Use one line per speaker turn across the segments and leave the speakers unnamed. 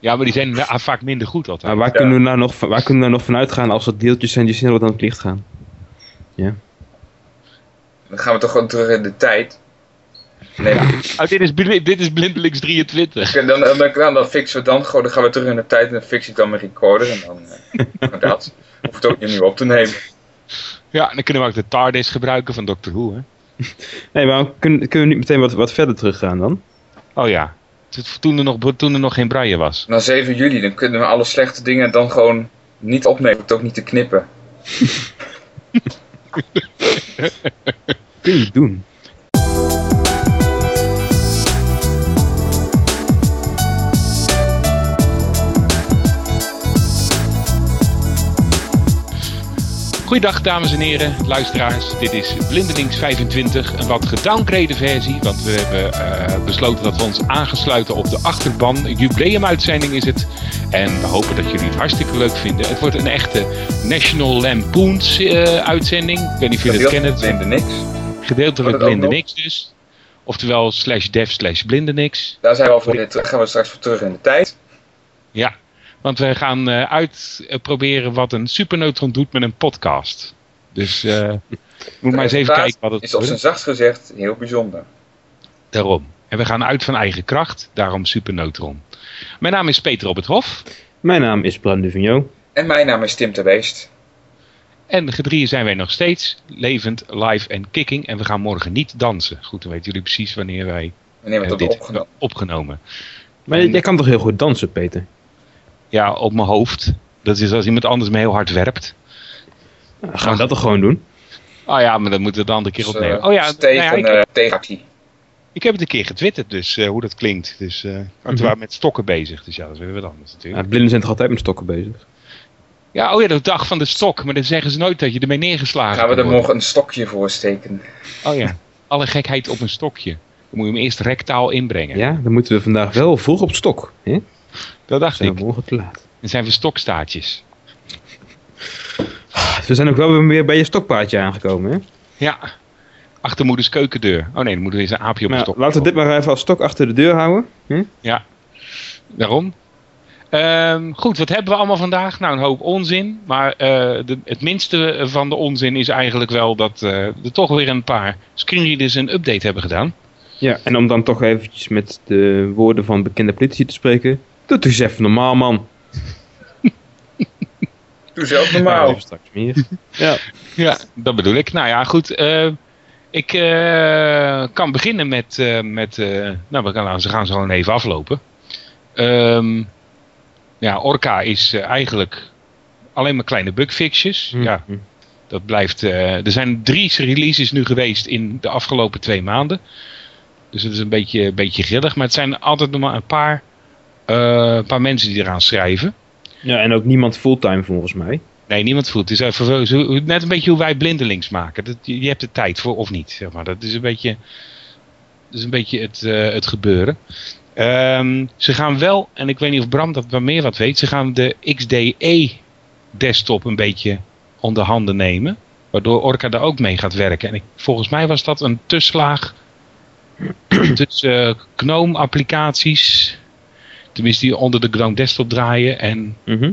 Ja, maar die zijn wa- vaak minder goed altijd.
Maar waar, kunnen we nou nog, van- waar kunnen we nou nog van uitgaan als dat deeltjes zijn die sneller dan het licht gaan?
Dan gaan we toch gewoon terug in de tijd. Nee,
Oh, dit, is bli- dit is Blindelings 23.
dan, dan, dan, dan, dan fixen we het dan gewoon. Dan gaan we terug in de tijd en dan fix ik dan mijn recorder. En dan eh, maar dat. Hoef het ook niet meer op te nemen.
Ja, en dan kunnen we ook de TARDIS gebruiken van Doctor Who, hè?
Nee, maar kunnen, kunnen we niet meteen wat, wat verder teruggaan dan?
Oh ja. T- Toen er nog, toen er nog geen braille was.
En dan 7 juli, dan kunnen we alle slechte dingen dan gewoon niet opnemen. Hoeft ook niet te knippen.
Kun je het doen?
Goeiedag dames en heren, luisteraars. Dit is Blindelings 25, een wat gedowngrade versie. Want we hebben eh, besloten dat we ons aangesluiten op de achterban. Een Jubileumuitzending is het. En we hopen dat jullie het hartstikke leuk vinden. Het wordt een echte National Lampoons eh, uitzending. Ik weet niet of jullie het
Dat
kennen.
hield
Het-
minder niks.
Gedeeltelijk
Wordt het ook
blinde
nog?
niks dus. Oftewel slash dev slash blinde niks.
Daar zijn we al voor dit. eh, Gaan we straks voor terug in de tijd.
Ja, want we gaan eh, uit uitproberen wat een superneutron doet met een podcast. Dus eh moet maar eens even
Resultaat
kijken wat het
Is op zijn zachtst gezegd heel bijzonder.
Daarom. En we gaan uit van eigen kracht, daarom superneutron. Mijn naam is Peter op het Hof.
Mijn naam is Bram Duvigneau.
En mijn naam is Tim de Weest.
En gedrieën zijn wij nog steeds, levend, live en kicking. En we gaan morgen niet dansen. Goed, dan weten jullie precies wanneer wij
Wanneer we
eh,
het
dit
hebben
hebben
opgenomen.
opgenomen.
Maar jij kan toch heel goed dansen, Peter?
Ja, op mijn hoofd. Dat is als iemand anders me heel hard werpt.
Nou, gaan we dat toch gewoon doen?
Oh ja, maar dan moeten we het de andere keer
Dus, eh,
opnemen. Oh ja,
dus
nou
tegen,
ja, ik-
eh, tegenactie.
Ik heb het een keer getwitterd, dus eh, hoe dat klinkt. Dus, eh want We
Mhm.
waren met stokken bezig, dus ja, dat is weer wat anders
Ja,
natuurlijk.
blinden zijn toch altijd met stokken bezig?
Ja, oh ja, de dag van de stok, maar dan zeggen ze nooit dat je ermee neergeslagen kan
Gaan we er
worden.
morgen een stokje voor steken?
Oh ja, alle gekheid op een stokje. Dan moet je hem eerst rectaal inbrengen.
Ja, dan moeten we vandaag wel vroeg op stok. Hè?
Dat dacht
Zijn
ik.
we morgen te laat.
Dan zijn we stokstaartjes.
Ah, We zijn ook wel weer bij je stokpaardje aangekomen. Hè?
Ja, achter moeders keukendeur. Oh nee, dan moeten we eens een aapje op een
Nou,
stok.
laten we dit maar even als stok achter de deur houden. Hè?
Daarom. Ehm, goed, wat hebben we allemaal vandaag? Nou, een hoop onzin. Maar eh, de, het minste van de onzin is eigenlijk wel dat eh, er toch weer een paar screenreaders een update hebben gedaan.
Ja, en om dan toch eventjes met de woorden van bekende politici te spreken. Doe toch eens even normaal, man.
Doe zelf
Nou,
normaal.
even straks meer. Ja.
Ja, dat bedoel ik. Nou ja, goed. eh, ik eh, kan beginnen met... eh, met eh, nou, we gaan, ze gaan zo gewoon even aflopen. Ehm, ja, Orca is eh, eigenlijk alleen maar kleine bugfixjes.
Hm.
Ja, dat blijft... eh, er zijn drie releases nu geweest in de afgelopen twee maanden. Dus het is een beetje, een beetje grillig. Maar het zijn altijd nog maar een paar, eh, een paar mensen die eraan schrijven.
ja, en ook niemand fulltime volgens mij.
Nee, niemand voelt. Het is even zo- hoe- net een beetje hoe wij blindelings maken. Dat, je je hebt de tijd voor of niet. Zeg maar. Dat is een beetje, dat is een beetje het, eh, het gebeuren. Ehm, ze gaan wel, en ik weet niet of Bram dat wel meer wat weet, ze gaan de XDE desktop een beetje onder handen nemen. Waardoor Orca daar ook mee gaat werken. En ik, volgens mij was dat een tussenlaag tussen eh, GNOME applicaties. Tenminste die onder de GNOME desktop draaien. En
Mhm.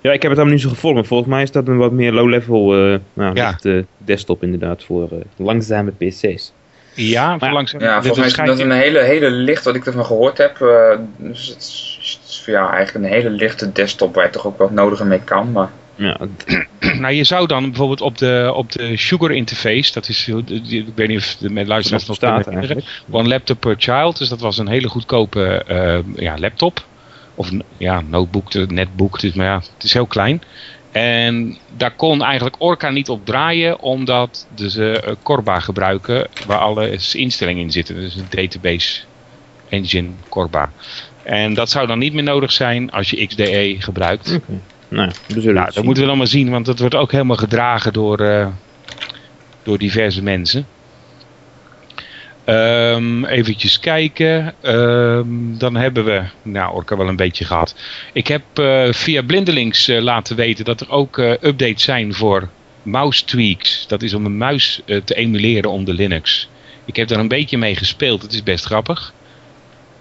Ja, ik heb het helemaal niet zo gevolgd, maar volgens mij is dat een wat meer low-level eh, nou,
Ja.
met, eh, desktop inderdaad voor eh, langzame pc's.
ja, voor
Maar-
langzaam.
Ja,
dit
volgens mij is
waarschijnlijk-
dat een hele, hele licht, wat ik ervan gehoord heb. eh, dus het is, het is, ja, eigenlijk een hele lichte desktop waar je toch ook wat nodig mee kan. Maar
Ja,
Nou, je zou dan bijvoorbeeld op de, op de Sugar interface, dat is, heel- die- ik weet niet of de met luisteraars nog kunnen
staat
herinneren.
eigenlijk.
One laptop per child, dus dat was een hele goedkope eh, ja, laptop. Of een- ja, notebook, eh, netbook, dus, maar ja, het is heel klein. En daar kon eigenlijk Orca niet op draaien, omdat dus, ze eh, Corba gebruiken, waar alle instellingen in zitten. Dus een database engine Corba. En dat zou dan niet meer nodig zijn als je XDE gebruikt.
Nou, we zullen
Nou,
het
dat
zien.
moeten we dan maar zien, want dat wordt ook helemaal gedragen door, eh, door diverse mensen. Ehm eventjes kijken. Ehm, dan hebben we, nou Orca wel een beetje gehad. Ik heb eh, via Blindelings eh, laten weten dat er ook eh, updates zijn voor mouse tweaks. Dat is om een muis eh, te emuleren onder Linux. Ik heb daar een beetje mee gespeeld, het is best grappig.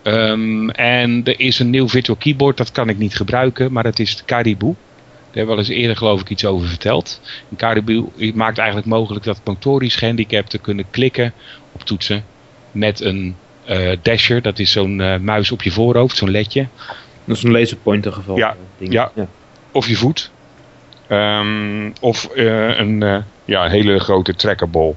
Eh, Ehm, en er is een nieuw virtual keyboard, dat kan ik niet gebruiken, maar dat is de Caribou. Daar hebben we al eens eerder geloof ik iets over verteld. Een Caribou maakt eigenlijk mogelijk dat motorisch gehandicapten kunnen klikken op toetsen met een eh, dasher. Dat is zo'n eh, muis op je voorhoofd, zo'n ledje.
Dat is een laserpointer geval. eh,
Ja,
ding.
ja. Of je voet. Ehm, of eh, een eh, ja, een hele grote trackerball.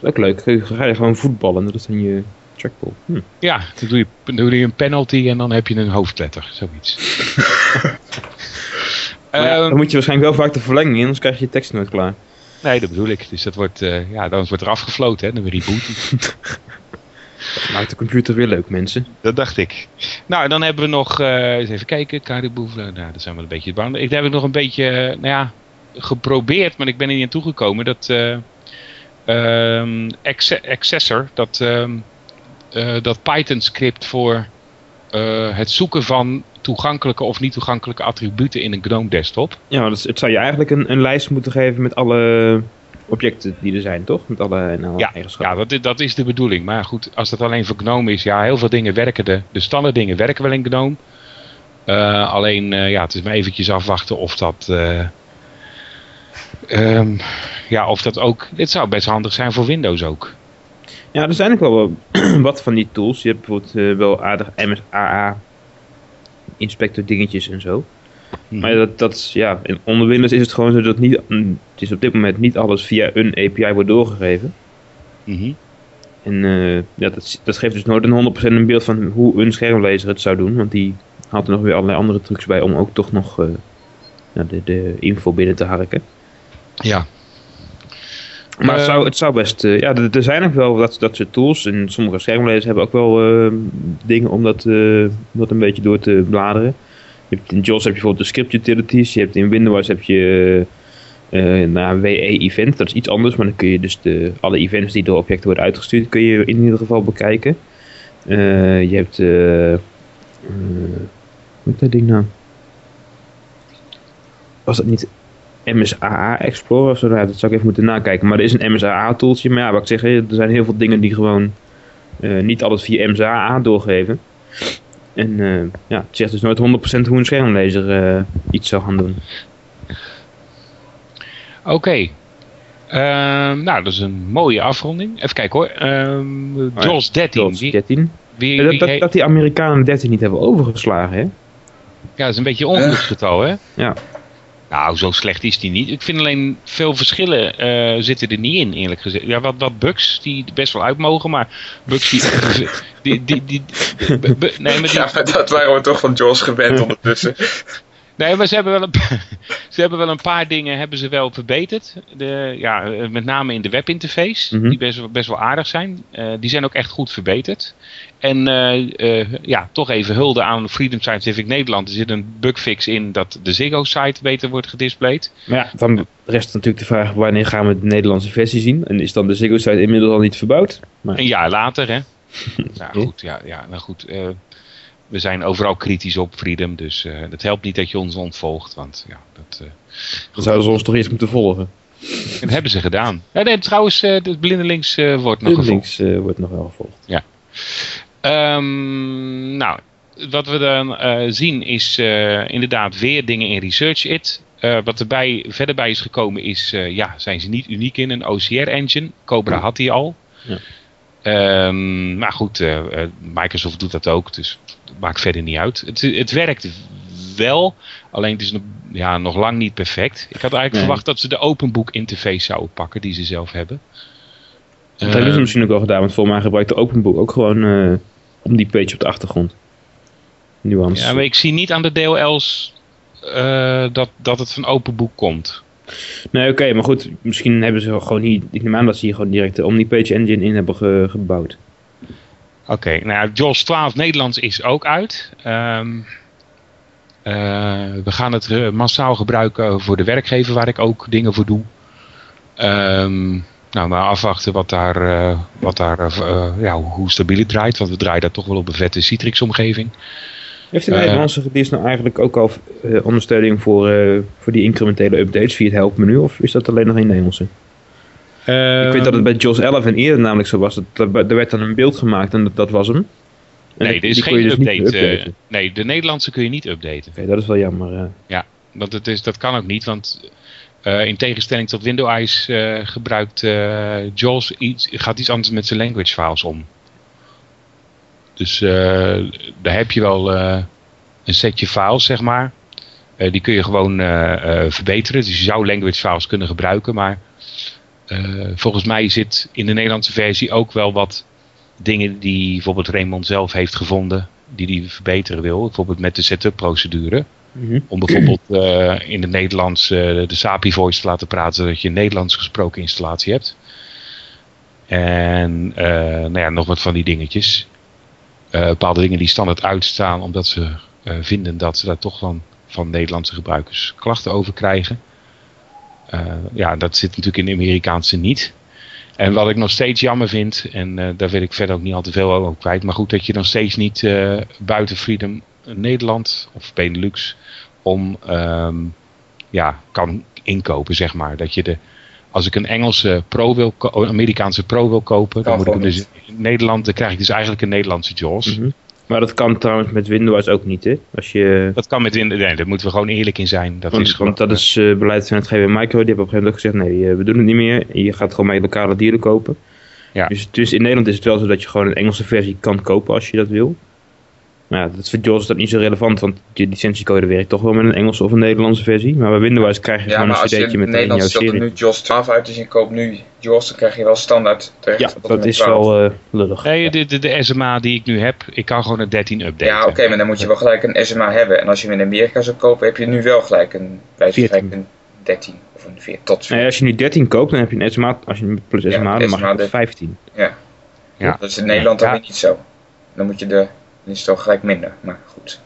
Dat is ook leuk. Ga- Ga je gewoon voetballen, dat is dan je trackball. Hm.
Ja, dan doe, je, dan doe je een penalty en dan heb je een hoofdletter, zoiets.
Maar ja,
Ehm,
dan moet je waarschijnlijk wel vaak de verlenging in, anders krijg je je tekst nooit klaar.
nee, dat bedoel ik. Dus dat wordt, eh, ja, dan wordt er afgefloten, hè, dan weer reboot.
Dat maakt de computer weer leuk, mensen.
dat dacht ik. Nou, en dan hebben we nog, eh, eens even kijken, Caribou, eh, nou, daar zijn we een beetje bang. Ik daar heb ik nog een beetje, eh, nou ja, geprobeerd, maar ik ben er niet aan toegekomen. Dat eh, ehm, Acce- Accessor, dat, ehm, eh, dat Python script voor eh, het zoeken van toegankelijke of niet toegankelijke attributen in een GNOME desktop.
Ja, maar dat is- het zou je eigenlijk een, een lijst moeten geven met alle objecten die er zijn, toch? Met alle nou, eigenschappen.
Ja, dat is, dat is de bedoeling. Maar goed, als dat alleen voor GNOME is, ja, heel veel dingen werken, de, de standaard dingen werken wel in GNOME. Eh, alleen, eh, ja, het is maar eventjes afwachten of dat, eh, ehm, ja, of dat ook, dit zou best handig zijn voor Windows ook.
Ja, er zijn ook wel wat- wat van die tools. Je hebt bijvoorbeeld eh, wel aardig MSAA inspector dingetjes en zo.
Mhm.
Maar ja, dat, dat is, ja, in- onder Windows is het gewoon zo dat niet, mm, het is op dit moment niet alles via een API wordt doorgegeven.
Mhm.
En eh, ja, dat, dat geeft dus nooit een 100% een beeld van hoe een schermlezer het zou doen. Want die haalt er nog weer allerlei andere trucs bij om ook toch nog eh, nou, de, de info binnen te harken.
Ja.
Maar het,
Eh,
zou, het zou best... eh, ja, er, er zijn ook wel dat, dat soort tools. En sommige schermlezers hebben ook wel eh, dingen om dat, eh, dat een beetje door te bladeren. Je hebt, in JAWS heb je bijvoorbeeld de script utilities. Je hebt in Windows heb je eh eh, nou, WE event. Dat is iets anders. Maar dan kun je dus de, alle events die door objecten worden uitgestuurd... kun je in ieder geval bekijken. Eh, je hebt... eh, eh, hoe heet dat ding nou? Was dat niet MSAA Explorer of zo. nou, dat zou ik even moeten nakijken. Maar er is een MSAA tooltje. Maar ja, wat ik zeg, hè, er zijn heel veel dingen die gewoon eh, niet alles via MSAA doorgeven. En eh, ja, het zegt dus nooit 100% hoe een schermlezer eh, iets zou gaan doen.
Oké. Ehm, nou, dat is een mooie afronding. Even kijken hoor. Ehm
Oh ja,
Jaws 13.
Dat is
Wie,
13.
wie,
En
wie-
Eh, dat, dat, dat die Amerikanen 13 niet hebben overgeslagen, hè?
ja, dat is een beetje ongeluksgetal, hè?
Ja.
Nou, zo slecht is die niet. Ik vind alleen veel verschillen eh, zitten er niet in, eerlijk gezegd. Ja, wat, wat bugs die best wel uit mogen, maar bugs die. die, die, die, bu- bu- nee, maar die-
Ja, maar dat waren we toch van Jaws gewend ondertussen.
nee, maar ze hebben wel een, ze hebben wel een paar dingen hebben ze wel verbeterd. De, ja, eh, met name in de webinterface,
Mhm.
die best, wel- best wel aardig zijn. Eh, die zijn ook echt goed verbeterd. En eh, eh, ja, toch even hulde aan Freedom Scientific Nederland. Er zit een bugfix in dat de Ziggo-site beter wordt gedisplayed.
Maar ja, dan rest natuurlijk de vraag, wanneer gaan we de Nederlandse versie zien? En is dan de Ziggo site inmiddels al niet verbouwd? Maar,
Een jaar later, hè? nou goed, ja, ja nou goed. eh, we zijn overal kritisch op Freedom, dus eh het helpt niet dat je ons ontvolgt, want ja, dat, eh,
dan zouden ze ons toch eerst moeten volgen.
dat hebben ze gedaan. Ja, nee, trouwens, eh de blindelings eh, wordt nog
De
gevolgd.
links eh, wordt nog wel gevolgd.
Ehm, nou, wat we dan eh, zien is eh, inderdaad weer dingen in Research It. Eh, wat erbij verder bij is gekomen is, eh, ja, zijn ze niet uniek in een OCR-engine. Cobra had die al.
Ja.
Ehm, maar goed, eh, eh, Microsoft doet dat ook, dus dat maakt verder niet uit. Het, het werkt wel, alleen het is nog, ja, nog lang niet perfect. Ik had eigenlijk
Nee.
verwacht dat ze de openboek interface zouden pakken die ze zelf hebben.
Dat hebben ze
Ehm,
misschien ook al gedaan, want volgens mij gebruikt de Openbook ook gewoon eh, om die page op de achtergrond. Nuance.
Ja, maar ik zie niet aan de DLL's eh, dat, dat het van open boek komt.
Nee, oké, maar goed, misschien hebben ze gewoon hier, ik neem aan dat ze hier gewoon direct eh, de Omnipage Engine in hebben ge- gebouwd.
Oké, nou ja, JAWS 12 Nederlands is ook uit. Ehm, eh, we gaan het eh, massaal gebruiken voor de werkgever waar ik ook dingen voor doe. Ehm, nou, maar afwachten wat daar, eh, wat daar eh, ja, hoe stabiel het draait. Want we draaien dat toch wel op een vette Citrix-omgeving.
Heeft de
Eh.
Nederlandse dienst nou eigenlijk ook al eh, ondersteuning voor, eh, voor die incrementele updates via het helpmenu, of is dat alleen nog in Nederlandse?
Ehm.
ik weet dat het bij JOS 11 en eerder namelijk zo was, dat, dat- er werd dan een beeld gemaakt en dat, dat was hem. En
Ehm, Nee, er
die
is
kon je
geen
dus niet meer
update. eh,
updaten.
nee, de Nederlandse kun je niet updaten.
Oké, dat is wel jammer. eh.
Want het is, dat kan ook niet, want eh, in tegenstelling tot Windows Eyes eh, gebruikt eh JAWS iets, gaat iets anders met zijn language files om. Dus eh, daar heb je wel eh, een setje files, zeg maar. Eh, die kun je gewoon eh, eh, verbeteren. Dus je zou language files kunnen gebruiken, maar eh, volgens mij zit in de Nederlandse versie ook wel wat dingen die bijvoorbeeld Raymond zelf heeft gevonden, die hij verbeteren wil. Bijvoorbeeld met de setup procedure
Mhm.
om bijvoorbeeld eh, in het Nederlands eh, de Sapi Voice te laten praten, zodat je een Nederlands gesproken installatie hebt. En eh, nou ja, nog wat van die dingetjes. Eh, bepaalde dingen die standaard uitstaan, omdat ze eh, vinden dat ze daar toch van, van Nederlandse gebruikers klachten over krijgen. Eh, ja, dat zit natuurlijk in de Amerikaanse niet. En wat ik nog steeds jammer vind, en eh, daar wil ik verder ook niet al te veel over kwijt, maar goed dat je nog steeds niet eh, buiten Freedom Nederland of Benelux om ehm, ja, kan inkopen, zeg maar. Dat je de, als ik een Engelse pro wil, ko- een Amerikaanse pro wil kopen, dan
Kan
moet ik hem
gewoon
dus in Nederland, dan krijg ik dus eigenlijk een Nederlandse JAWS.
Mhm. Maar dat kan trouwens met Windows ook niet, hè? Als je,
Dat kan met Windows, nee, daar moeten we gewoon eerlijk in zijn. Dat
want,
is gewoon,
want dat is eh, beleid van het GW Micro. Die hebben op een gegeven moment ook gezegd: nee, eh, we doen het niet meer. Je gaat gewoon bij lokale dieren kopen.
Ja.
Dus, dus in Nederland is het wel zo dat je gewoon een Engelse versie kan kopen als je dat wil. Maar ja, dat, voor JAWS is dat niet zo relevant, want je licentiecode werkt toch wel met een Engelse of een Nederlandse versie. Maar bij Windows krijg je
Ja,
gewoon
maar
een
als je
cd'tje
in
met in jouw
Nederland stelt er
serie.
nu JOS 12 uit, dus je koopt nu JOS, dan krijg je wel standaard terecht.
Ja,
tot en
dat
met
is
12.
wel eh, lullig.
nee, de, de, de SMA die ik nu heb, ik kan gewoon een 13 updaten.
Ja, oké, maar dan moet je wel gelijk een SMA hebben. En als je hem in Amerika zou kopen, heb je nu wel gelijk een, bij wijze van
14.
spreken een 13 of een 4 tot 4.
Nee, als je nu 13 koopt, dan heb je een SMA. Als je plus SMA, dan mag
SMA
je tot
de-
15.
Ja.
Dat is in Nederland dan
Ja.
weer niet zo. Dan moet je de install gelijk minder. Maar goed.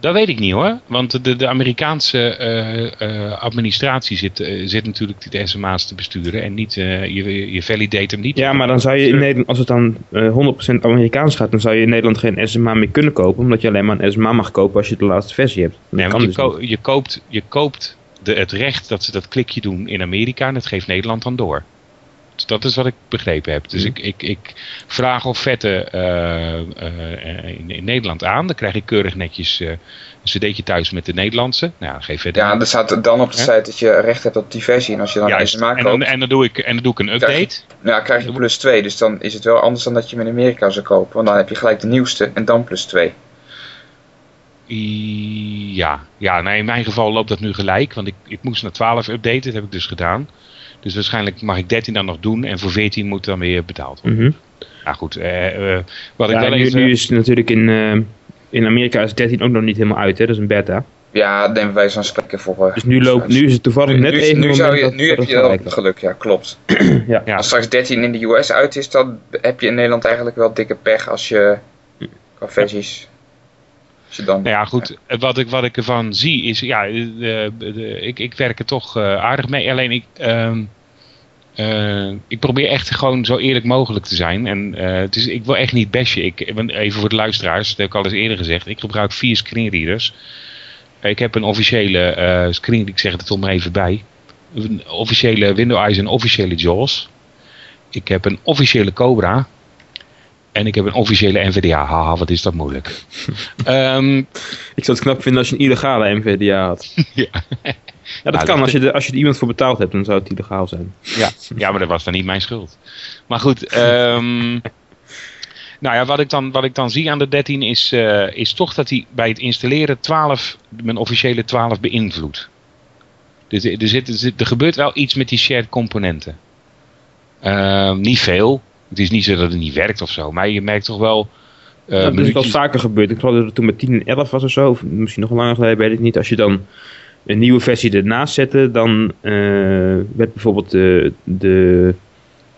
Dat weet ik niet hoor, want de, de Amerikaanse eh, eh, administratie zit, eh, zit natuurlijk de SMA's te besturen en niet, eh, je, je validate hem niet.
Ja, maar dan zou je in Nederland, als het dan eh 100% Amerikaans gaat, dan zou je in Nederland geen SMA meer kunnen kopen, omdat je alleen maar een SMA mag kopen als je de laatste versie hebt. Dat
Nee,
kan
want je,
dus niet.
ko- je koopt, je koopt de, het recht dat ze dat klikje doen in Amerika en dat geeft Nederland dan door. Dus dat is wat ik begrepen heb. Dus
Mhm.
ik, ik, ik vraag of vetten eh, eh, in, in Nederland aan. Dan krijg ik keurig netjes eh, een cd'tje thuis met de Nederlandse. Nou, dan geef verder.
Ja, er staat dan op de
Ja.
site dat je recht hebt op die versie. En als je dan een
Juist.
SMA
en,
koopt,
dan, en, dan doe ik, en dan doe ik een
Krijg je-
update.
nou, dan krijg je plus 2. Dus dan is het wel anders dan dat je hem in Amerika zou kopen. Want dan heb je gelijk de nieuwste en dan plus 2.
I- Ja, ja nou in mijn geval loopt dat nu gelijk. Want ik, ik moest naar 12 updaten, dat heb ik dus gedaan. Dus waarschijnlijk mag ik 13 dan nog doen. En voor 14 moet dan weer betaald worden.
Mhm.
Nou goed, eh, eh, wat ik
Ja,
wel
nu,
even...
nu is het natuurlijk in, eh, in Amerika is 13 ook nog niet helemaal uit, hè? dat is een beta.
Ja, nemen wij zo'n spreken voor. eh,
Dus nu, loopt, nu is het toevallig net
nu,
even
nu,
het
zou je,
moment
nu
dat-
heb
dat
je
het
wel
gelijk was.
geluk, ja, klopt.
Ja.
Als straks 13 in de US uit is, dan heb je in Nederland eigenlijk wel dikke pech als je qua versies. Als je dan.
Nou ja, goed, eh, wat ik, wat ik ervan zie is... Ja, eh, de- de- ik, ik werk er toch eh, aardig mee. Alleen ik... ehm, eh, ik probeer echt gewoon zo eerlijk mogelijk te zijn. En eh, het is, ik wil echt niet bashen. Ik, want even voor de luisteraars, dat heb ik al eens eerder gezegd. Ik gebruik vier screenreaders. Ik heb een officiële eh screen, ik zeg het er toch maar even bij. Een officiële Windows Eyes en officiële JAWS. Ik heb een officiële Cobra. En ik heb een officiële NVDA. Haha, wat is dat moeilijk. Ehm,
Ik zou het knap vinden als je een illegale NVDA had.
Ja. Nou,
Ja, dat
dat
kan. Als je, de, als je er iemand voor betaald hebt, dan zou het illegaal zijn.
Ja, ja maar dat was dan niet mijn schuld. Maar goed, ehm, nou ja, wat ik, dan, wat ik dan zie aan de 13 is, eh, is toch dat hij bij het installeren 12, mijn officiële 12 beïnvloedt. Dus er, zit, er, zit- er gebeurt wel iets met die shared componenten. Ehm, niet veel. Het is niet zo dat het niet werkt of zo. Maar je merkt toch wel... eh,
dat is wel
minuutjes-
vaker gebeurd. Ik geloof dat het toen met 10 en 11 was of zo. Of misschien nog langer geleden, weet ik niet. Als je dan een nieuwe versie ernaast zette, dan eh, werd bijvoorbeeld de, de,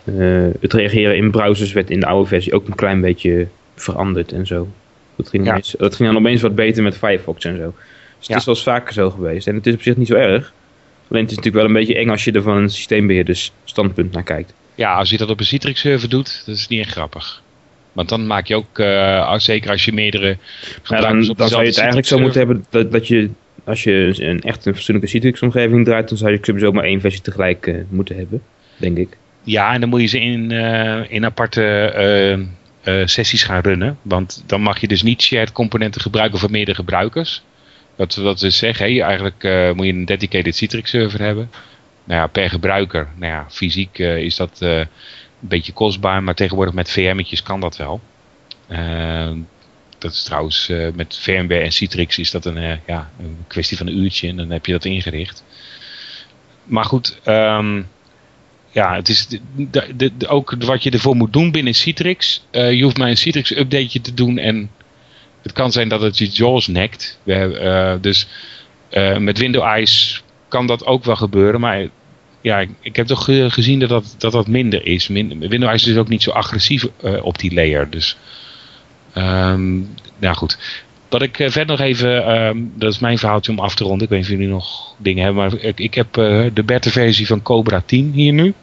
eh, het reageren in browsers werd in de oude versie ook een klein beetje veranderd en zo. Dat ging,
Ja.
opeens- dat ging dan opeens wat beter met Firefox en zo. Dus het
Ja.
is wel eens vaker zo geweest. En het is op zich niet zo erg. Alleen het is natuurlijk wel een beetje eng als je er van een systeembeheerders standpunt naar kijkt.
Ja, als je dat op een Citrix server doet, dat is niet echt grappig. Want dan maak je ook, eh, als- zeker als je meerdere
Ja, dus dan,
gebruikers op
dan zou
dezelfde
je het eigenlijk zo
Citrix-server-
moeten hebben dat, dat je, als je een echt een fatsoenlijke Citrix-omgeving draait, dan zou je sowieso maar één versie tegelijk eh, moeten hebben, denk ik.
Ja, en dan moet je ze in, eh, in aparte eh, eh, sessies gaan runnen. Want dan mag je dus niet shared componenten gebruiken voor meerdere gebruikers. Wat, wat we zeggen, hé, eigenlijk eh, moet je een dedicated Citrix server hebben. Nou ja, per gebruiker. Nou ja, fysiek eh, is dat eh, een beetje kostbaar, maar tegenwoordig met VM'tjes kan dat wel. Eh, dat is trouwens, eh, met VMware en Citrix is dat een, eh, ja, een kwestie van een uurtje en dan heb je dat ingericht. Maar goed, ehm, ja, het is de- de- de- de- ook wat je ervoor moet doen binnen Citrix. Eh, je hoeft maar een Citrix updateje te doen en het kan zijn dat het je JAWS nekt. We hebben, eh, dus eh, met Windows Eyes kan dat ook wel gebeuren, maar ja, ik, ik heb toch eh, gezien dat dat, dat dat minder is. Min, Windows Eyes is ook niet zo agressief eh, op die layer, dus ehm, nou goed. Wat ik eh, verder nog even, ehm, dat is mijn verhaaltje om af te ronden. Ik weet niet of jullie nog dingen hebben, maar ik, ik heb eh, de beta versie van Cobra 10 hier nu.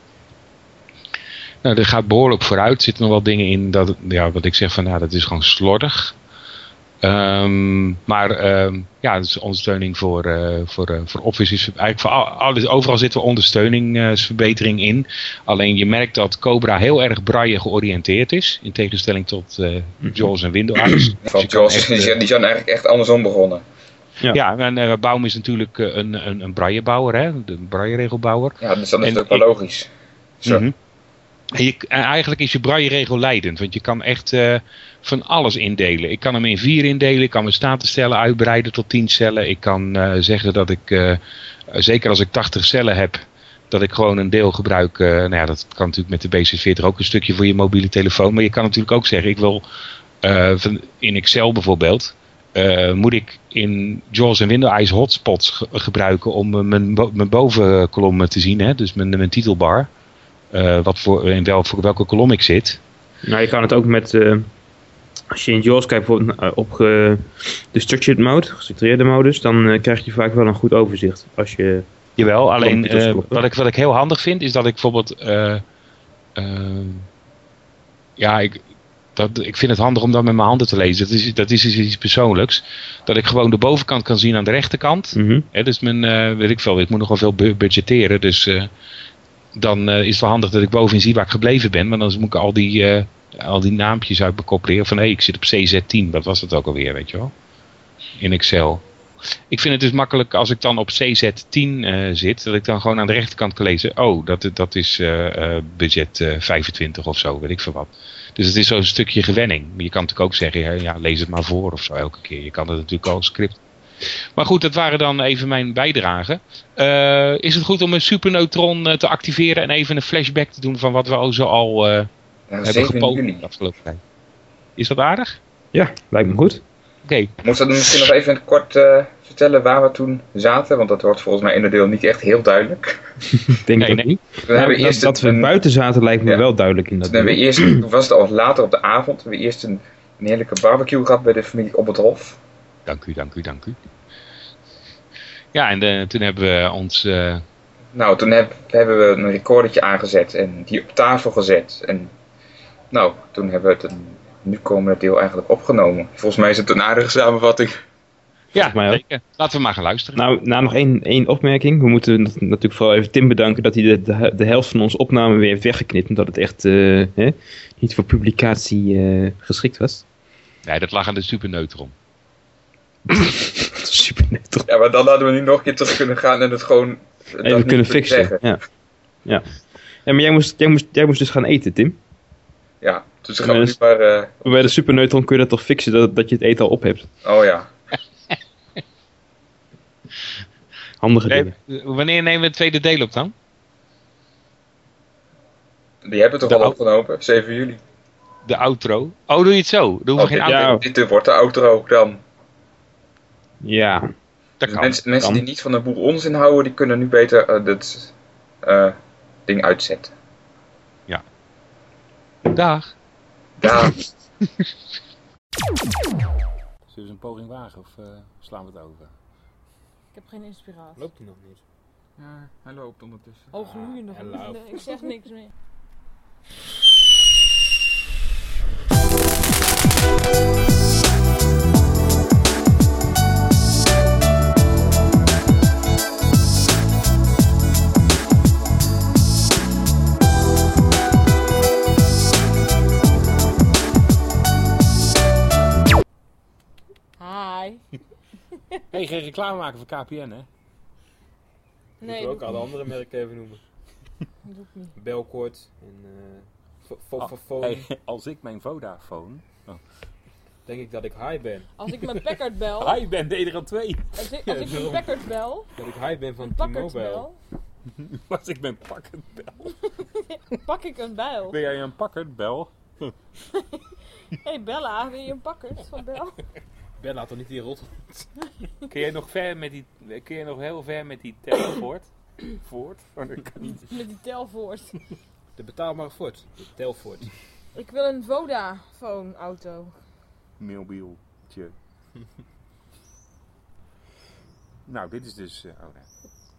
Nou, dat gaat behoorlijk vooruit. Er zitten nog wel dingen in dat, ja, wat ik zeg van, nou, dat is gewoon slordig. Ehm, maar ehm, ja, dat is ondersteuning voor, eh, voor, eh, voor Office. Is eigenlijk voor al- alles, overal zit wel ondersteuningsverbetering in. Alleen je merkt dat Cobra heel erg braille georiënteerd is. In tegenstelling tot eh JAWS en Windows. Dus je
Van
kan
Jaws,
echt,
die,
eh,
zijn- die zijn eigenlijk echt andersom begonnen.
ja, en eh, Baum is natuurlijk eh, een, een, een braillebouwer, hè? de brailleregelbouwer.
Ja, dus dan is
En
het ook wel
ik-
logisch. Zo.
Mhm. En je, en eigenlijk is je brailleregel leidend, want je kan echt eh, van alles indelen. Ik kan hem in vier indelen, ik kan mijn statuscellen uitbreiden tot tien cellen. Ik kan eh, zeggen dat ik, eh, zeker als ik 80 cellen heb, dat ik gewoon een deel gebruik. eh, nou ja, dat kan natuurlijk met de B640 ook een stukje voor je mobiele telefoon. Maar je kan natuurlijk ook zeggen, ik wil eh, van- in Excel bijvoorbeeld, eh, moet ik in JAWS en Windows Eyes hotspots ge- gebruiken om eh, mijn, bo- mijn bovenkolom te zien, hè? dus mijn, mijn titelbar. Eh, wat voor, in wel, voor welke kolom ik zit.
Nou, je kan het ook met. eh, als je in JAWS kijkt bijvoorbeeld eh, op ge- de structured mode, gestructureerde modus, dan eh, krijg je vaak wel een goed overzicht. Als je,
Jawel, alleen
Klopt, dat is
eh,
klopt.
wat, ik, wat ik heel handig vind is dat ik bijvoorbeeld. eh, ehm, ja, ik, dat, ik vind het handig om dat met mijn handen te lezen. Dat is, dat is iets- iets persoonlijks. Dat ik gewoon de bovenkant kan zien aan de rechterkant.
Mhm.
Hè, dus mijn, eh, weet ik veel, ik moet nogal veel bu- budgetteren. Dus eh, dan eh, is het wel handig dat ik bovenin zie waar ik gebleven ben. Maar dan moet ik al die, eh, al die naampjes uit mijn kop leren. Van hé, ik zit op CZ10. Wat was dat ook alweer, weet je wel? In Excel. Ik vind het dus makkelijk als ik dan op CZ10 eh, zit. Dat ik dan gewoon aan de rechterkant kan lezen. Oh, dat, dat is eh, eh, budget eh, 25 of zo, weet ik veel wat. Dus het is zo'n stukje gewenning. Maar je kan natuurlijk ook zeggen, ja, ja, lees het maar voor of zo elke keer. Je kan het natuurlijk al als script maar goed, dat waren dan even mijn bijdragen. Eh, is het goed om een superneutron eh, te activeren en even een flashback te doen van wat we al zo al eh,
Nou,
hebben
7
gepoogd
juli.
de afgelopen tijd? Is dat aardig?
Ja, lijkt me goed.
Oké,
Moeten we misschien nog even in het kort eh, vertellen waar we toen zaten? Want dat wordt volgens mij in de deel niet echt heel duidelijk.
Ik Denk
Nee,
dat
nee.
niet.
We hebben
dat,
eerst
dat we
een-
buiten zaten lijkt me
Ja.
wel duidelijk in dat
Toen hebben
deel.
we eerst, toen was het al later op de avond, hebben we eerst een, een heerlijke barbecue gehad bij de familie op het Hof.
dank u, dank u, dank u. Ja, en eh, toen hebben we ons... eh,
Nou, toen heb- hebben we een recordertje aangezet en die op tafel gezet. En nou, toen hebben we het een, nu komende deel eigenlijk opgenomen. Volgens mij is het een aardige samenvatting.
ja,
mij ook.
zeker. Laten we maar gaan luisteren.
Nou, nou nog één, één opmerking. We moeten nat- natuurlijk vooral even Tim bedanken dat hij de, de, de helft van onze opname weer heeft weggeknipt. Omdat het echt eh, hè, niet voor publicatie eh, geschikt was.
Nee, dat lag aan de superneutron.
Super net toch?
Ja, maar dan hadden we nu nog een keer terug kunnen gaan en het gewoon... dat
Even
niet
kunnen
kunnen
fixen.
zeggen.
Ja. Ja. ja, maar jij moest, jij, moest, jij moest dus gaan eten, Tim.
Ja, dus dan gaan
Ja,
we nu
dus-
maar... eh,
Bij de superneutron kun je dat toch fixen dat, dat je het eten al op hebt.
oh ja.
Handige
Nee, eh,
dingen.
wanneer nemen we het tweede deel op dan?
Die hebben toch
De
al
au-
opgenomen, 7 juli.
De outro? Oh, doe je het zo? Dan hoeven we
Oh,
geen
dit-
outro.
ja.
dit, dit wordt de outro dan.
Ja,
Dat
Dus
kan.
mensen, mensen
kan.
die niet van een boel onzin houden, die kunnen nu beter eh, dat eh, ding uitzetten.
Dag.
Ja.
Zullen we een poging wagen of
Eh,
slaan we het over?
Ik heb geen inspiratie.
hij nog niet?
Ja, hij loopt ondertussen.
Oh, gloeiend nog. Nee, Ik zeg niks meer.
hey, geen reclame maken voor KPN, hè?
Nee,
Moeten we
doe
ook alle andere merken even noemen.
ik- doe ik niet.
Belkort en eh, Vo- Vo-
Ah,
Vo- Vodafone.
Hey, als ik mijn Vodafone...
Denk ik dat ik high ben.
Als ik mijn Packard bel,
Hi, ik ben Nederland 2.
als ik, als ik mijn Packard bel,
Dat ik high ben van
een Packard
T-Mobile.
bel,
Als ik mijn Packard bel.
pak ik een bijl.
Ben jij een Packard bel?
hey Bella, wil je een Packard van Bel?
Ben laat toch niet die rot.
Kun jij nog, ver met die, kun jij nog heel ver met die telefoon voort? Voort? Oh, dat kan niet.
Met die telvoort.
De betaalbare Ford. De Telford.
Ik wil een Vodafone auto.
Mobieltje. nou, dit is dus... eh, oh, nee.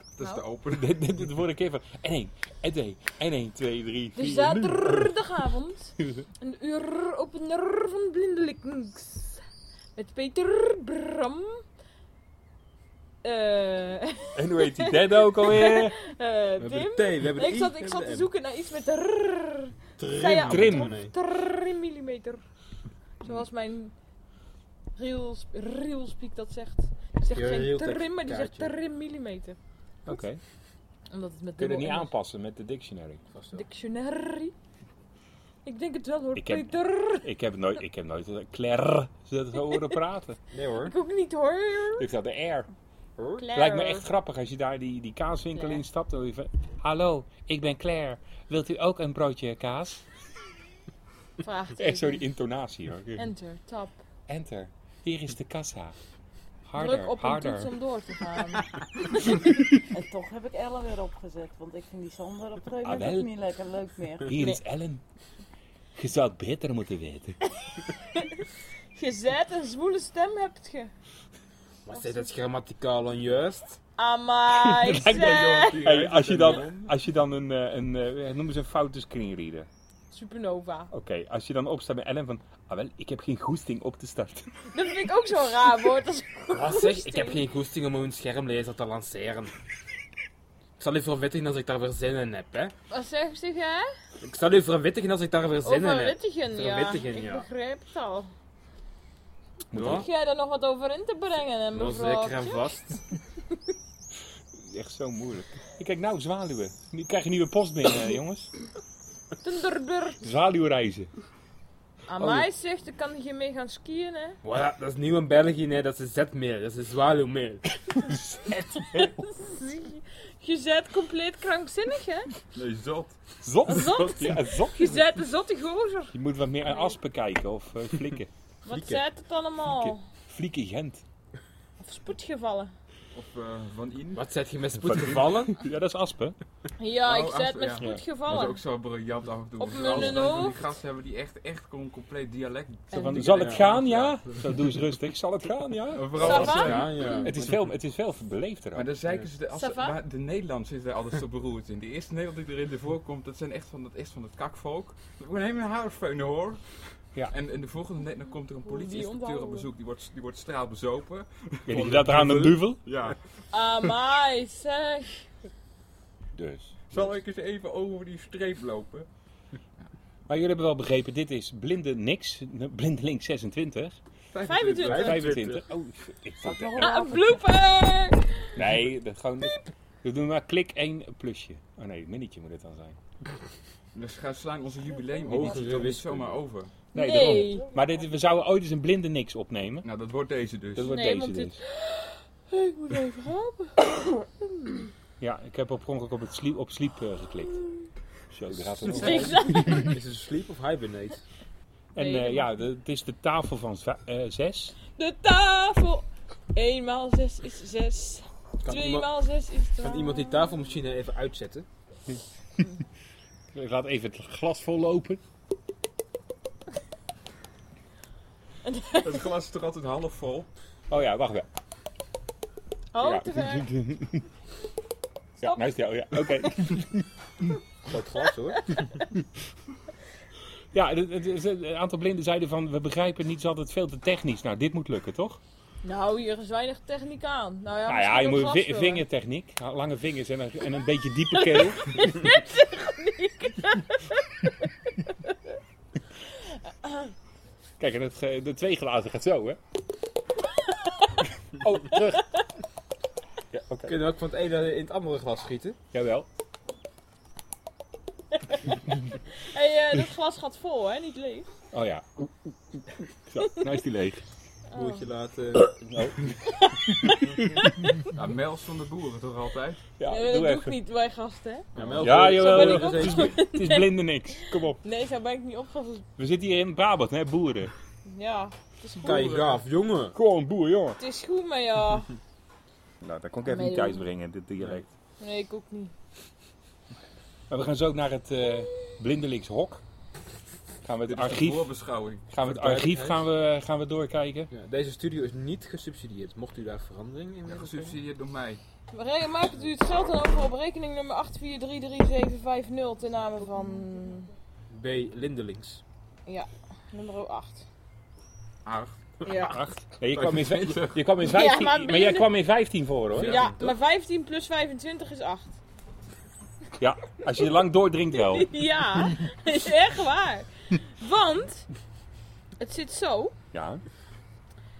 Dat
Nou,
is de open.
dit, dit, dit wordt een keer van... En 1, en 2, en 1, 2, 3, 4...
Dus zaterdagavond, een uur op een uur van blindelings. Met Peter Bram. Eh, eh,
En hoe heet die derde ook alweer?
We hebben
Tim.
een T, we hebben
Eh,
een
Ik
I,
zat,
we
ik
hebben
zat
een
te
M.
zoeken naar iets met rrrr.
Trim.
Zei je
Trim.
Oh, nee.
Trim millimeter. Zoals mijn reels, reelspeak dat zegt. Die zegt
Je
geen
reeltekst
trim, maar die zegt
kaartje.
trim millimeter.
Oké.
Omdat het met
Kun je
dubbel
dat niet
M is.
aanpassen met de dictionary?
Vast wel.
Dictionary. Ik denk het wel hoor,
Ik heb-
Peter.
Ik heb nooit, ik heb nooit een Claire zo horen praten.
Nee hoor.
Ik ook niet hoor.
Ik zat de R.
Hoor?
Lijkt me echt grappig als je daar die, die kaaswinkel
Claire.
instapt. Dan even, Hallo, ik ben Claire. Wilt u ook een broodje kaas?
Vraagteken.
Echt zo die intonatie hoor.
Enter, tap.
Enter. Hier is de kassa.
Druk
Harder,
op een toets
harder.
om door te gaan.
En toch heb ik Ellen weer opgezet, want ik vind die Sander op een gegeven
Ah,
moment
wel.
ook niet lekker leuk meer.
Hier is Ellen. Je zou het beter moeten weten.
Je zet een zwoele stem hebt je.
Maar zit dat grammaticaal onjuist?
Amai, ik
Lijkt me
zeg.
Hey, als, je dan, als je dan een, eh, een eh, noem eens een foute screenreader.
Supernova.
Oké, als je dan opstaat bij Ellen van, ah wel, ik heb geen goesting op te starten.
Dat vind ik ook zo'n raar woord. Dat is
Wat zeg? Ik heb geen goesting om een schermlezer te lanceren. Ik zal u verwittigen als ik daar weer zin in heb, hè?
Wat zeg je, hè?
Ik zal u verwittigen als ik daar weer zin in heb.
Overwittigen, ja.
Verwittigen,
Ik
ja.
begrijp het al.
Ja,
Heb jij daar nog wat over in te brengen, hè,
wel
mevrouw?
zeker en vast.
Echt zo moeilijk. Kijk nou, zwaluwen. Nu krijg je nieuwe post binnen, eh, jongens.
Tunderdurd.
Zwaluwreizen.
Amai zegt, dan kan je mee gaan skiën, hè?
Voilà, dat is nieuw in België, nee, dat is een zetmeel, dat is een zwaluwmeel.
Je bent compleet krankzinnig, hè?
Nee, zot.
Zot.
Zot.
Ja, zot.
Je bent een zotte gozer.
Je moet wat meer aan aspen kijken of eh, flikken.
Wat
Flieken.
zet het allemaal?
Flikken Gent.
Of spoedgevallen.
Of eh, Van In.
Wat zet je met spoed gevallen?
Ja, dat is aspen.
Ja,
Oh,
ik zei
ach,
het met
ja.
spoedgevallen.
Dat is ook zo briljant af en toe.
Op
Vooral
mijn
als dan van
hoofd.
Die gasten hebben die echt, echt gewoon compleet dialect.
Zo
Van,
Ja.
zal het gaan, ja? Zo, doe eens rustig. Zal het gaan, ja?
En Vooral
Ça
als,
va?
ja.
Ja, ja.
Het is veel, het is veel beleefder.
Maar
ook.
dan zeiken ze, de, als,
Ça va?
maar de Nederlands zitten er altijd zo beroerd in. De eerste Nederland die erin ervoor komt, dat zijn echt van, dat, echt van het kakvolk. Dat wordt helemaal haarfeunen hoor.
Ja.
En, en de volgende net, dan komt er een politie-inspecteur
onthouden
op
we.
bezoek, die wordt, die wordt straalbezopen.
Weet je dat aan een duvel?
Ja.
Ah, Amai, zeg.
Dus.
Zal ik eens even over die streep lopen?
Maar jullie hebben wel begrepen, dit is blinde niks. Blindelink 26.
25.
25. Oh, ik vond
Nog een
dat.
Ah, een
avond.
blooper!
Nee, dat gewoon... We doen maar klik 1 plusje. Oh nee, minnetje moet het dan zijn.
Dus ga slaan onze jubileum
Hogere
editie toch niet
wiskunde.
zomaar over.
Nee,
Nee.
daarom. Maar dit, we zouden ooit eens een blinde niks opnemen.
Nou, dat wordt deze dus.
Dat wordt
Nee,
deze
want dit-
dus.
Ik moet even helpen.
Ja, ik heb op ongeluk op, het sleep, op sleep eh, geklikt. Zo, daar gaat het over.
Ik zeg,
Is het sleep of hibernate?
En
Nee, dat
eh,
mag
ja, de- het is de tafel van zwa- eh, zes.
de tafel. 1 maal 6 is 6.
Kan
2
iemand,
maal 6 is 12.
kan iemand die tafelmachine even uitzetten?
Ik laat even het glas vollopen.
Het glas is er altijd half vol.
Oh ja, wacht wel.
Oh,
ja.
te ver.
Ja,
Stop.
nou is die- oh ja, oké.
Groot glas hoor.
Ja, het- het- het- een aantal blinden zeiden van, we begrijpen niet, ze altijd veel te technisch. Nou, dit moet lukken, toch?
Nou, hier is weinig techniek aan. Nou ja,
nou ja, je
misschien
moet
ook
vi-
glasvullen.
vingertechniek, lange vingers en een, en een beetje diepe keel. Kijk, en het, eh, de twee glazen gaat zo, hè?
Oh, terug.
Ja, oké.
Kunnen we ook van het ene in het andere glas schieten?
Jawel.
Hé, eh, dat glas gaat vol, hè? Niet leeg.
Oh ja. Zo, nou is die leeg.
Oh.
Boertje laten.
Ja, Mels van de boeren toch altijd?
Ja,
Ja,
doe
dat doe ik
even.
niet bij gasten.
Ja, Melk,
Ja,
zo
jawel,
ben
jawel.
ik ook
Het is,
eens-
het is blinde niks. Kom op.
Nee, zo ben ik niet opgevoed.
We zitten hier in Brabant, hè, boeren.
Ja, het is goed.
Kijk, gaaf, jongen.
Gewoon boer, jongen.
Het is goed, maar ja.
Nou, dat kon ik even
Nee,
niet thuis brengen, dit dialect.
Nee, ik ook niet.
Maar we gaan zo ook naar het eh blindelingshok. Gaan we het
Dit is de
archief,
voorbeschouwing.
gaan we het archief gaan we, gaan we doorkijken.
Ja, deze studio is niet gesubsidieerd. Mocht u daar verandering in
Ja,
willen?
Gesubsidieerd door mij.
Maar re- Maak het u het geld dan over op rekening nummer 8433750 ten name van
B. Lindelings.
nummer 8.
Acht.
Ja.
Oh,
Nee, je, kwam in, vij- je,
25.
je kwam in
Ja,
15,
maar
maar, jij
blinde-
kwam in 15 voor hoor.
Ja.
ja, maar 15 plus 25 is 8.
Ja, als je lang doordringt wel.
Ja, is echt waar. Want het zit zo.
Ja.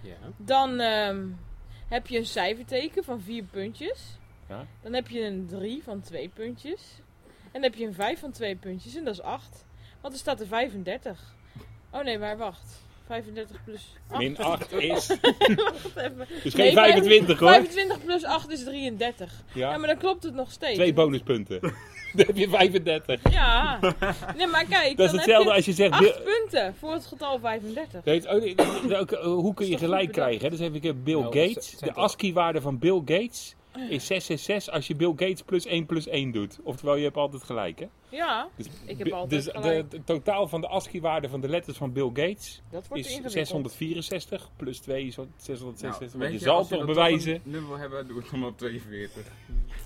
Ja.
Dan ehm, heb je een cijferteken van vier puntjes.
Ja.
Dan heb je een 3 van twee puntjes. En dan heb je een 5 van twee puntjes en dat is 8. Want er staat er 35. Oh nee, maar wacht. 35 plus 8.
Min 8 is.
Wacht even.
Dus
Nee,
geen 25 hoor.
25 plus 8 is 33. Ja,
Ja.
maar dan klopt het nog steeds.
Twee bonuspunten. Dan heb je 35.
Ja. Nee, maar kijk.
Dat is
dan
hetzelfde
heb
als je zegt.
je
Bill-
8 punten voor het getal 35.
Weet, oh, nee, dat is ook, eh, hoe kun je
Is toch
gelijk
goed bedacht?
krijgen? hè? Dus even keer Bill
Nou, dat
Gates.
zijn
De
toch-
ASCII-waarde van Bill Gates
Ah.
is 666 als je Bill Gates plus 1 plus 1 doet. Oftewel, je hebt altijd gelijk, hè?
Ja,
Dus,
Ik heb
bi-
altijd
dus de-
gelijk.
de- het totaal van de ASCII-waarde van de letters van Bill Gates
dat wordt
is
ingewikkeld.
664 plus 2 is 666.
Nou, weet
Want je
als
zal
dat
toch
tot
bewijzen...
een nummer wil hebben, doe het dan op 42.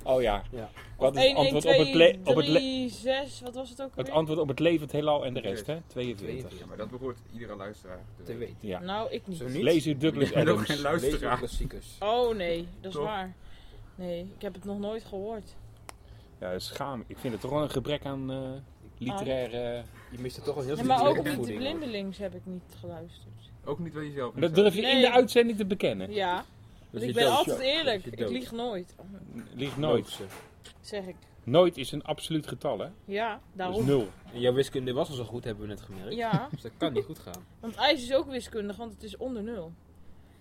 Oh ja.
Ja.
Wat is
1, 1,
het antwoord op het,
2,
le- op het, le-
3, 6, wat was het ook
het
alweer?
antwoord op het levend heelal en de rest, hè? 42.
Ja, maar dat behoort iedere luisteraar te
Te
weten.
weten.
Ja.
Nou, ik niet.
Zo niet?
Lees u Douglas
Ik ben ook geen
Lees
Adams.
luisteraar.
klassiekers.
Oh nee, dat is
Toch?
waar. Nee, ik heb het nog nooit gehoord.
Ja, schaam. Ik vind het toch wel een gebrek aan eh literaire... eh,
Ah.
Je mist er toch wel heel
Ja,
veel
maar ook op
opvoeding,
de
hoor.
blindelings heb ik niet geluisterd.
Ook niet bij jezelf.
Maar Dat durf je in de
Nee.
uitzending te bekennen.
Ja,
Dat
want
is
ik
je
ben
dood.
altijd eerlijk.
Dat is je
Ik
dood.
lieg nooit.
Ligt nooit.
Doodse.
Zeg ik.
Nooit is een absoluut getal, hè?
Ja,
Dus
daarom.
nul.
En jouw wiskunde was al zo goed, hebben we net gemerkt.
Ja,
Dus dat kan niet goed gaan.
want ijs is ook wiskundig, want het is onder nul.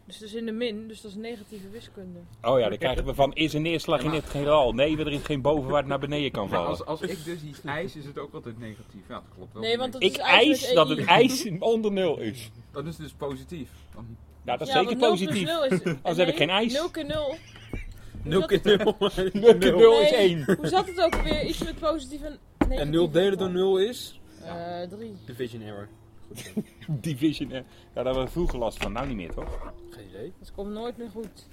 Dus dat is in de min, dus dat is negatieve wiskunde.
Oh ja, dan krijgen we van is een neerslag in het generaal. Nee, er is geen boven waar het naar beneden kan
Maar
Nou,
vallen.
als, als ik dus iets eis, is het ook altijd negatief. Ja, dat klopt wel.
Nee, want dat
Ik
is ijs met E
eis dat
EI.
het ijs onder nul is.
Dat is dus positief. Dan-
Nou, dat is
Ja,
zeker
want 0 plus
positief.
0 is, dus
heb ik geen ijs.
0 keer 0.
0 keer 0.
0 keer 0 is
Nee.
1.
Hoe zat het ook weer? Iets met positief en negatief.
En 0 delen door 0 is?
Eh, 3.
Division error.
Division. eh. Ja, daar hebben we vroeger last van. Nou niet meer, toch?
Geen idee.
Dat komt nooit meer goed.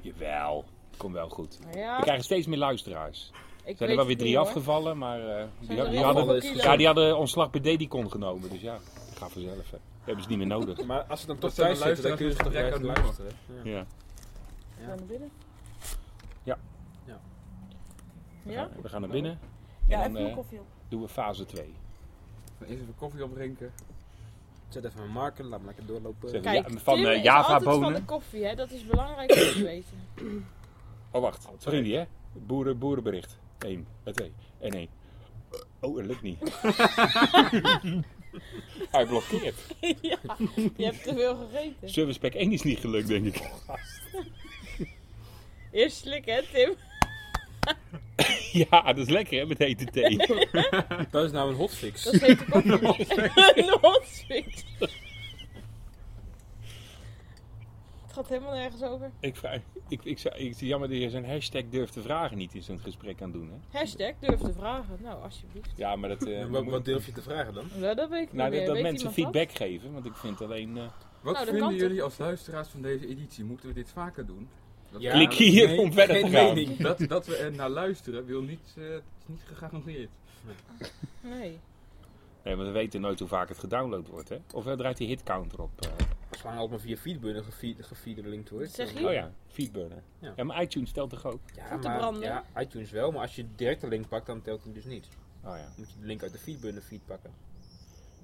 Jawel. Komt wel goed.
Maar
We
Nou Ja,
krijgen steeds meer luisteraars.
ik
Er zijn er
weet
wel weer
het
drie
niet, hoor.
afgevallen, maar eh, die,
er
die
heel
hadden,
veel
kilo's?
ja, die hadden ontslag bij Dedicon genomen. Dus ja, dat gaat vanzelf. Hè. Hebben ze niet meer nodig.
Maar als ze dan
Dat
toch
zijn de
thuis zitten, dan
luisteraars
kun je ze toch blijven
die gebrek aan humor.
luisteren. Ja.
Ja.
Gaan we binnen?
Ja.
Ja.
Ja?
We gaan naar binnen.
Ja,
en
even
dan
mijn
eh,
koffie op.
doen we fase 2.
dan Eerst even koffie opdrinken.
Zet even een marker, laat hem lekker doorlopen.
Zeg,
Kijk,
Ja, van,
Tim
eh,
is
Java
altijd van
bonen.
de koffie, hè? dat is belangrijk om te weten.
Oh, wacht. Sorry, die, hè? Boeren, boerenbericht. 1, 2 en 1. Oh, dat lukt niet. Hij blokkeert.
ja, je hebt te veel gegeten.
Service pack 1 is niet gelukt, denk ik.
Eerst slikken, hè Tim?
Ja, dat is lekker, hè, met hete thee.
Dat is nou een hotfix.
Dat is hete koffie. Een hotfix. Het gaat helemaal nergens over.
ik, vraag, ik, ik, zou- ik, jammer dat je zo'n hashtag durft te vragen niet in zo'n gesprek aan doen, hè?
Hashtag durf te vragen. Nou, alsjeblieft.
Ja, maar dat... eh,
En wat,
moet-
wat durf je te vragen dan?
Nou, dat weet ik
nou,
niet meer.
dat, dat
Weet
mensen
iemand dat?
feedback geven, want ik vind alleen... eh,
Wat
Nou, dat kan
vinden
toch?
jullie als luisteraars van deze editie? Moeten we dit vaker doen? Dat-
Ja.
klik hier
nee,
om verder te
geen
gaan.
mening.
Dat, dat we er naar luisteren wil niet, eh, het is niet gegarandeerd.
Nee.
Nee, maar we weten nooit hoe vaak het gedownload wordt, hè? Of eh, draait die hitcounter op? eh?
Zolang altijd maar via feedburner gefeedlinkt wordt.
Zeg
dan-
je?
Oh ja, feedburner. Ja.
Ja.
maar iTunes stelt toch ook?
Ja,
Goed te
maar,
branden.
ja, iTunes wel, maar als je direct de link pakt, dan telt hij dus niet.
Oh ja.
Dan moet je de link uit de feedburner feed pakken.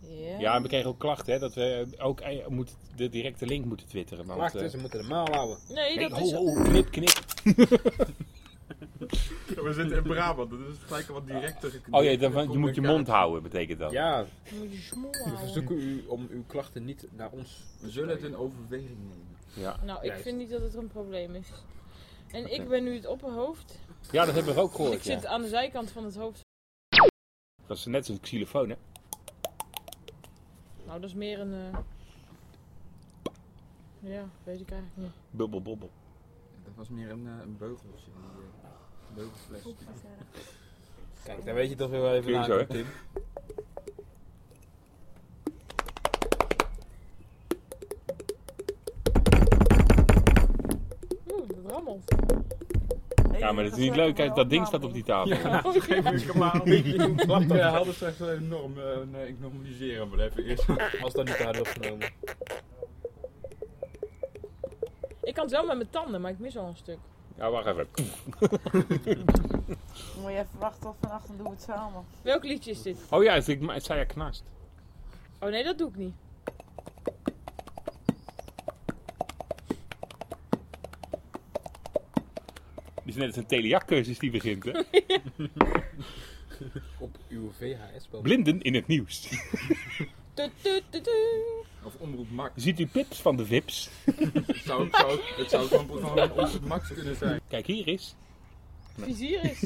Oh Ja, we kregen ook klachten, hè, dat we ook eh, moeten de directe link moeten twitteren. Want,
Wacht,
eh,
ze moeten de maal houden.
Nee,
nee,
dat
ho,
is...
ho, knip, knip.
We zitten in Brabant, dat is gelijk wat directer.
Oh ja, dan, van- je moet je mond houden, betekent dat.
Ja,
Dan moet je smoel
we
houden.
verzoeken u om uw klachten niet naar ons.
We zullen het in overweging nemen.
Nou, ik
Juist.
vind niet dat het een probleem is. En ik ben nu het opperhoofd.
Ja, dat hebben we ook
Ik
gehoord. Ja.
zit aan de zijkant van het hoofd.
Dat is net zo'n xylofoon, hè?
Nou, dat is meer een... eh, Ja, weet ik eigenlijk niet.
Bubbel, bobbel.
Dat was meer een, eh, een beugeltje. Een eh, beugelfles.
Kijk, daar weet je toch wel even
Doe je
naar
zo, hè?
komt, Tim.
Oeh, dat rammelt.
Hey,
Ja, maar dat is
is
niet leuk. Kijk, dat ding staat op die tafel.
Oh, ja.
We eh, hadden straks wel een norm. eh, nee, ik normaliseer hem wel even eerst.
Als dat niet hard wordt genomen.
Ik kan het wel met mijn tanden, maar ik mis al een stuk.
Ja, wacht even.
Moet je even wachten tot vannacht en doen we het samen.
Welk liedje is dit?
Oh ja, het, ik, het zei ja knast.
Oh nee, dat doe ik niet.
Het is net als een Telia-cursus die begint, hè?
Op uw VHS-spel.
Blinden in het nieuws.
Tu, tu, tu, tu.
Of omroep Max.
Ziet u pips van de vips?
Het zou, het zou, het zou gewoon programma van omroep Max kunnen zijn.
Kijk, hier is.
Vizier is.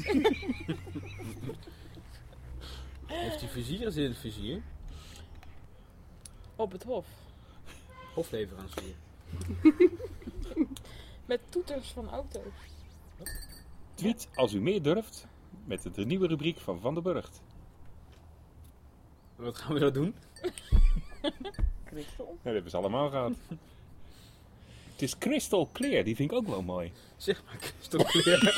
Heeft die vizier is in het vizier?
Op het hof.
Of leverancier?
Met toeters van auto's.
Tweet als u meer durft met de nieuwe rubriek van Van der Burgt.
Wat gaan we dat doen?
Christel?
Nou, dat hebben ze allemaal gehad. Het is crystal clear, die vind ik ook wel mooi.
Zeg maar, Christophe Kleren.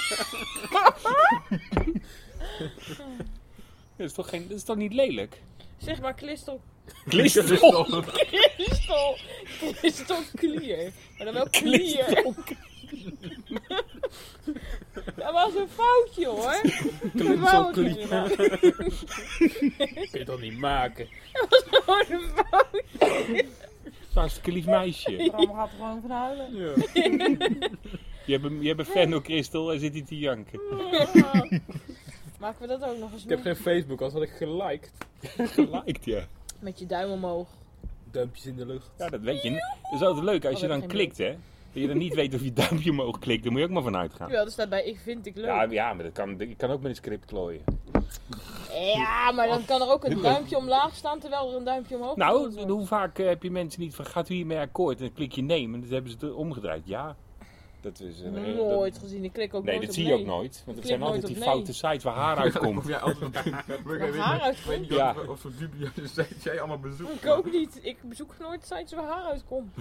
Dat is toch, geen, dat is toch niet lelijk?
Zeg maar kristal.
Crystal
Kristal. Kristal clear. Maar dan wel clear. Dat was een foutje hoor. Dat wou ik niet. Dat
Dat kun je toch niet maken?
was gewoon een foutje.
Hartstikke lief meisje.
Bram gaat er gewoon van huilen.
Je hebt een, je hebt een fan door Crystal en zit hij te janken.
Maken we dat ook nog eens
Ik heb
mee?
geen Facebook, als had ik geliked.
Geliked, ja.
Met je duim omhoog.
Duimpjes in de lucht.
Ja, dat weet je. Dat is altijd leuk als je
Oh, dat
dan
heb ik
klikt, hè. Dat je dan niet weet of je duimpje omhoog klikt, daar moet je ook maar van uitgaan.
Jawel, er staat bij ik vind ik leuk.
Ja, ja maar dat kan, ik kan ook met een script klooien.
Ja, maar dan kan er ook een duimpje omlaag staan terwijl er een duimpje omhoog
Oh, Nou,
gezet wordt.
hoe vaak eh, heb je mensen niet van, gaat u hiermee akkoord? En dan klik je nee, en dat hebben ze het omgedraaid. Ja. Dat is een... eh, dat-
Nooit gezien. Ik klik ook
Nee,
nooit
dat
op
zie je
nee.
ook nooit. Want
Klik
het zijn altijd
nooit
die
op nee.
foute sites waar haar uitkomt.
jij altijd Ik weet
Waar
niet-
haar
ik weet
uitkomt?
niet
Ja.
of, of zo'n dubieuze sites jij allemaal bezoekt.
Ik ook niet. Ik bezoek nooit sites waar haar uitkomt.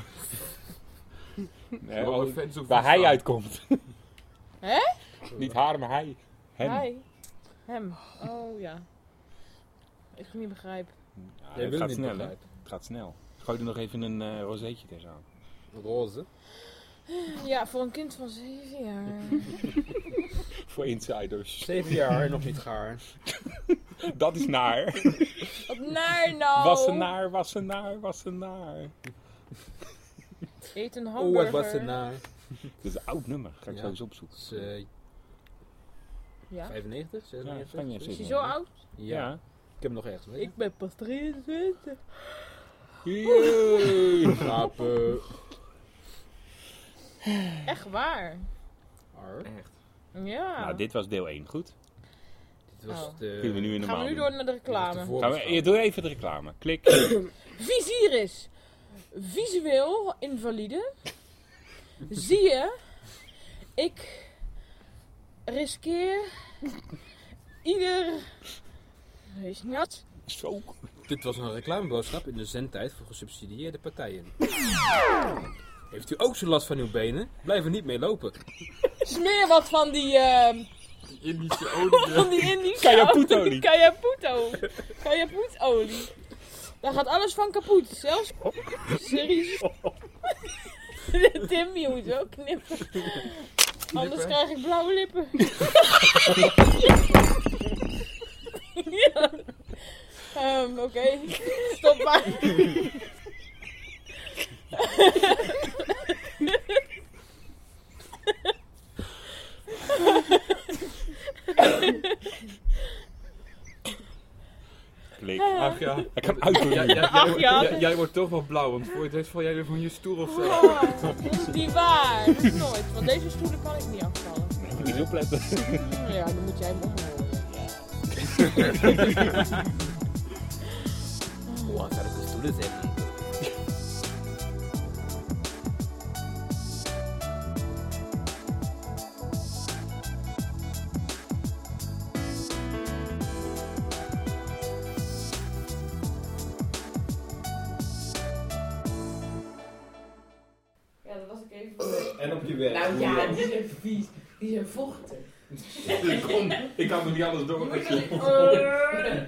Nee,
Ja,
oh,
alle fans ook
waar
van
hij
staan.
uitkomt.
Hè?
Niet haar, maar hij. Hem.
Hij. Hem. Oh ja. Ik niet begrijp.
Ja,
Jij
het
wil
gaat
niet
snel, hè?
begrijpen.
Het gaat snel. Gooi er nog even een eh rozeetje tegenaan.
Roze.
Ja, voor een kind van 7 jaar.
Voor insiders.
Zeven jaar en nog niet gaar. Oh,
Dat is naar.
Wat naar nou?
Was ze naar, was ze naar, was ze naar.
Eet een
Oh,
hamburger.
wat was er na?
Dat is een oud nummer. Ga ik
Ja.
zo eens opzoeken.
Dat is eh,
Ja.
95,
Ja,
96?
Spanje
Is
zit
hij
er.
zo oud?
Ja,
Ja.
ik heb hem nog ergens.
Ik ben pas 23.
Jee.
Slapen.
Echt waar.
Echt.
Ja.
Nou, dit was deel 1. Goed.
Dit was
Oh.
de.
Kunnen we nu weer
Gaan
normaal
we nu
doen.
door naar de
dit was de
reclame.
Gaan we,
voorbeschouwing.
eh, doe even de reclame. Klik.
Vizier is visueel invalide. Zie je, ik riskeer ieder. Wees nat.
Zo.
Dit was een reclameboodschap in de zendtijd voor gesubsidieerde partijen. Heeft u ook zo last van uw benen? Blijf er niet mee lopen.
Smeer wat van die. ehm
Die Indische olie.
van die Indische.
Kajaputolie.
Kajaputo. Kajaputolie. Daar gaat alles van kapot. Zelfs. Serieus. Tim, je moet wel knippen. Anders krijg ik blauwe lippen. Ja. Ehm, Oké, stop maar.
Klik.
Ach ja.
Hij kan uitdoen.
Ja, ja, jij,
Ach,
wordt-
ja.
jij- jij wordt toch wel blauw, want voor het weet val jij weer van je stoel of zo.
Oh, dat is niet waar. Dat is nooit. Want deze stoelen kan ik niet afvallen.
Ik moet niet opletten.
Ja, dan moet jij hem opnemen.
Hoe lang gaat het de stoelen zetten?
Ja, dat was ik even.
En op je werk.
Nou ja, die zijn vies. Die zijn vochtig.
Kom, ik kan me niet anders door.
Moet je-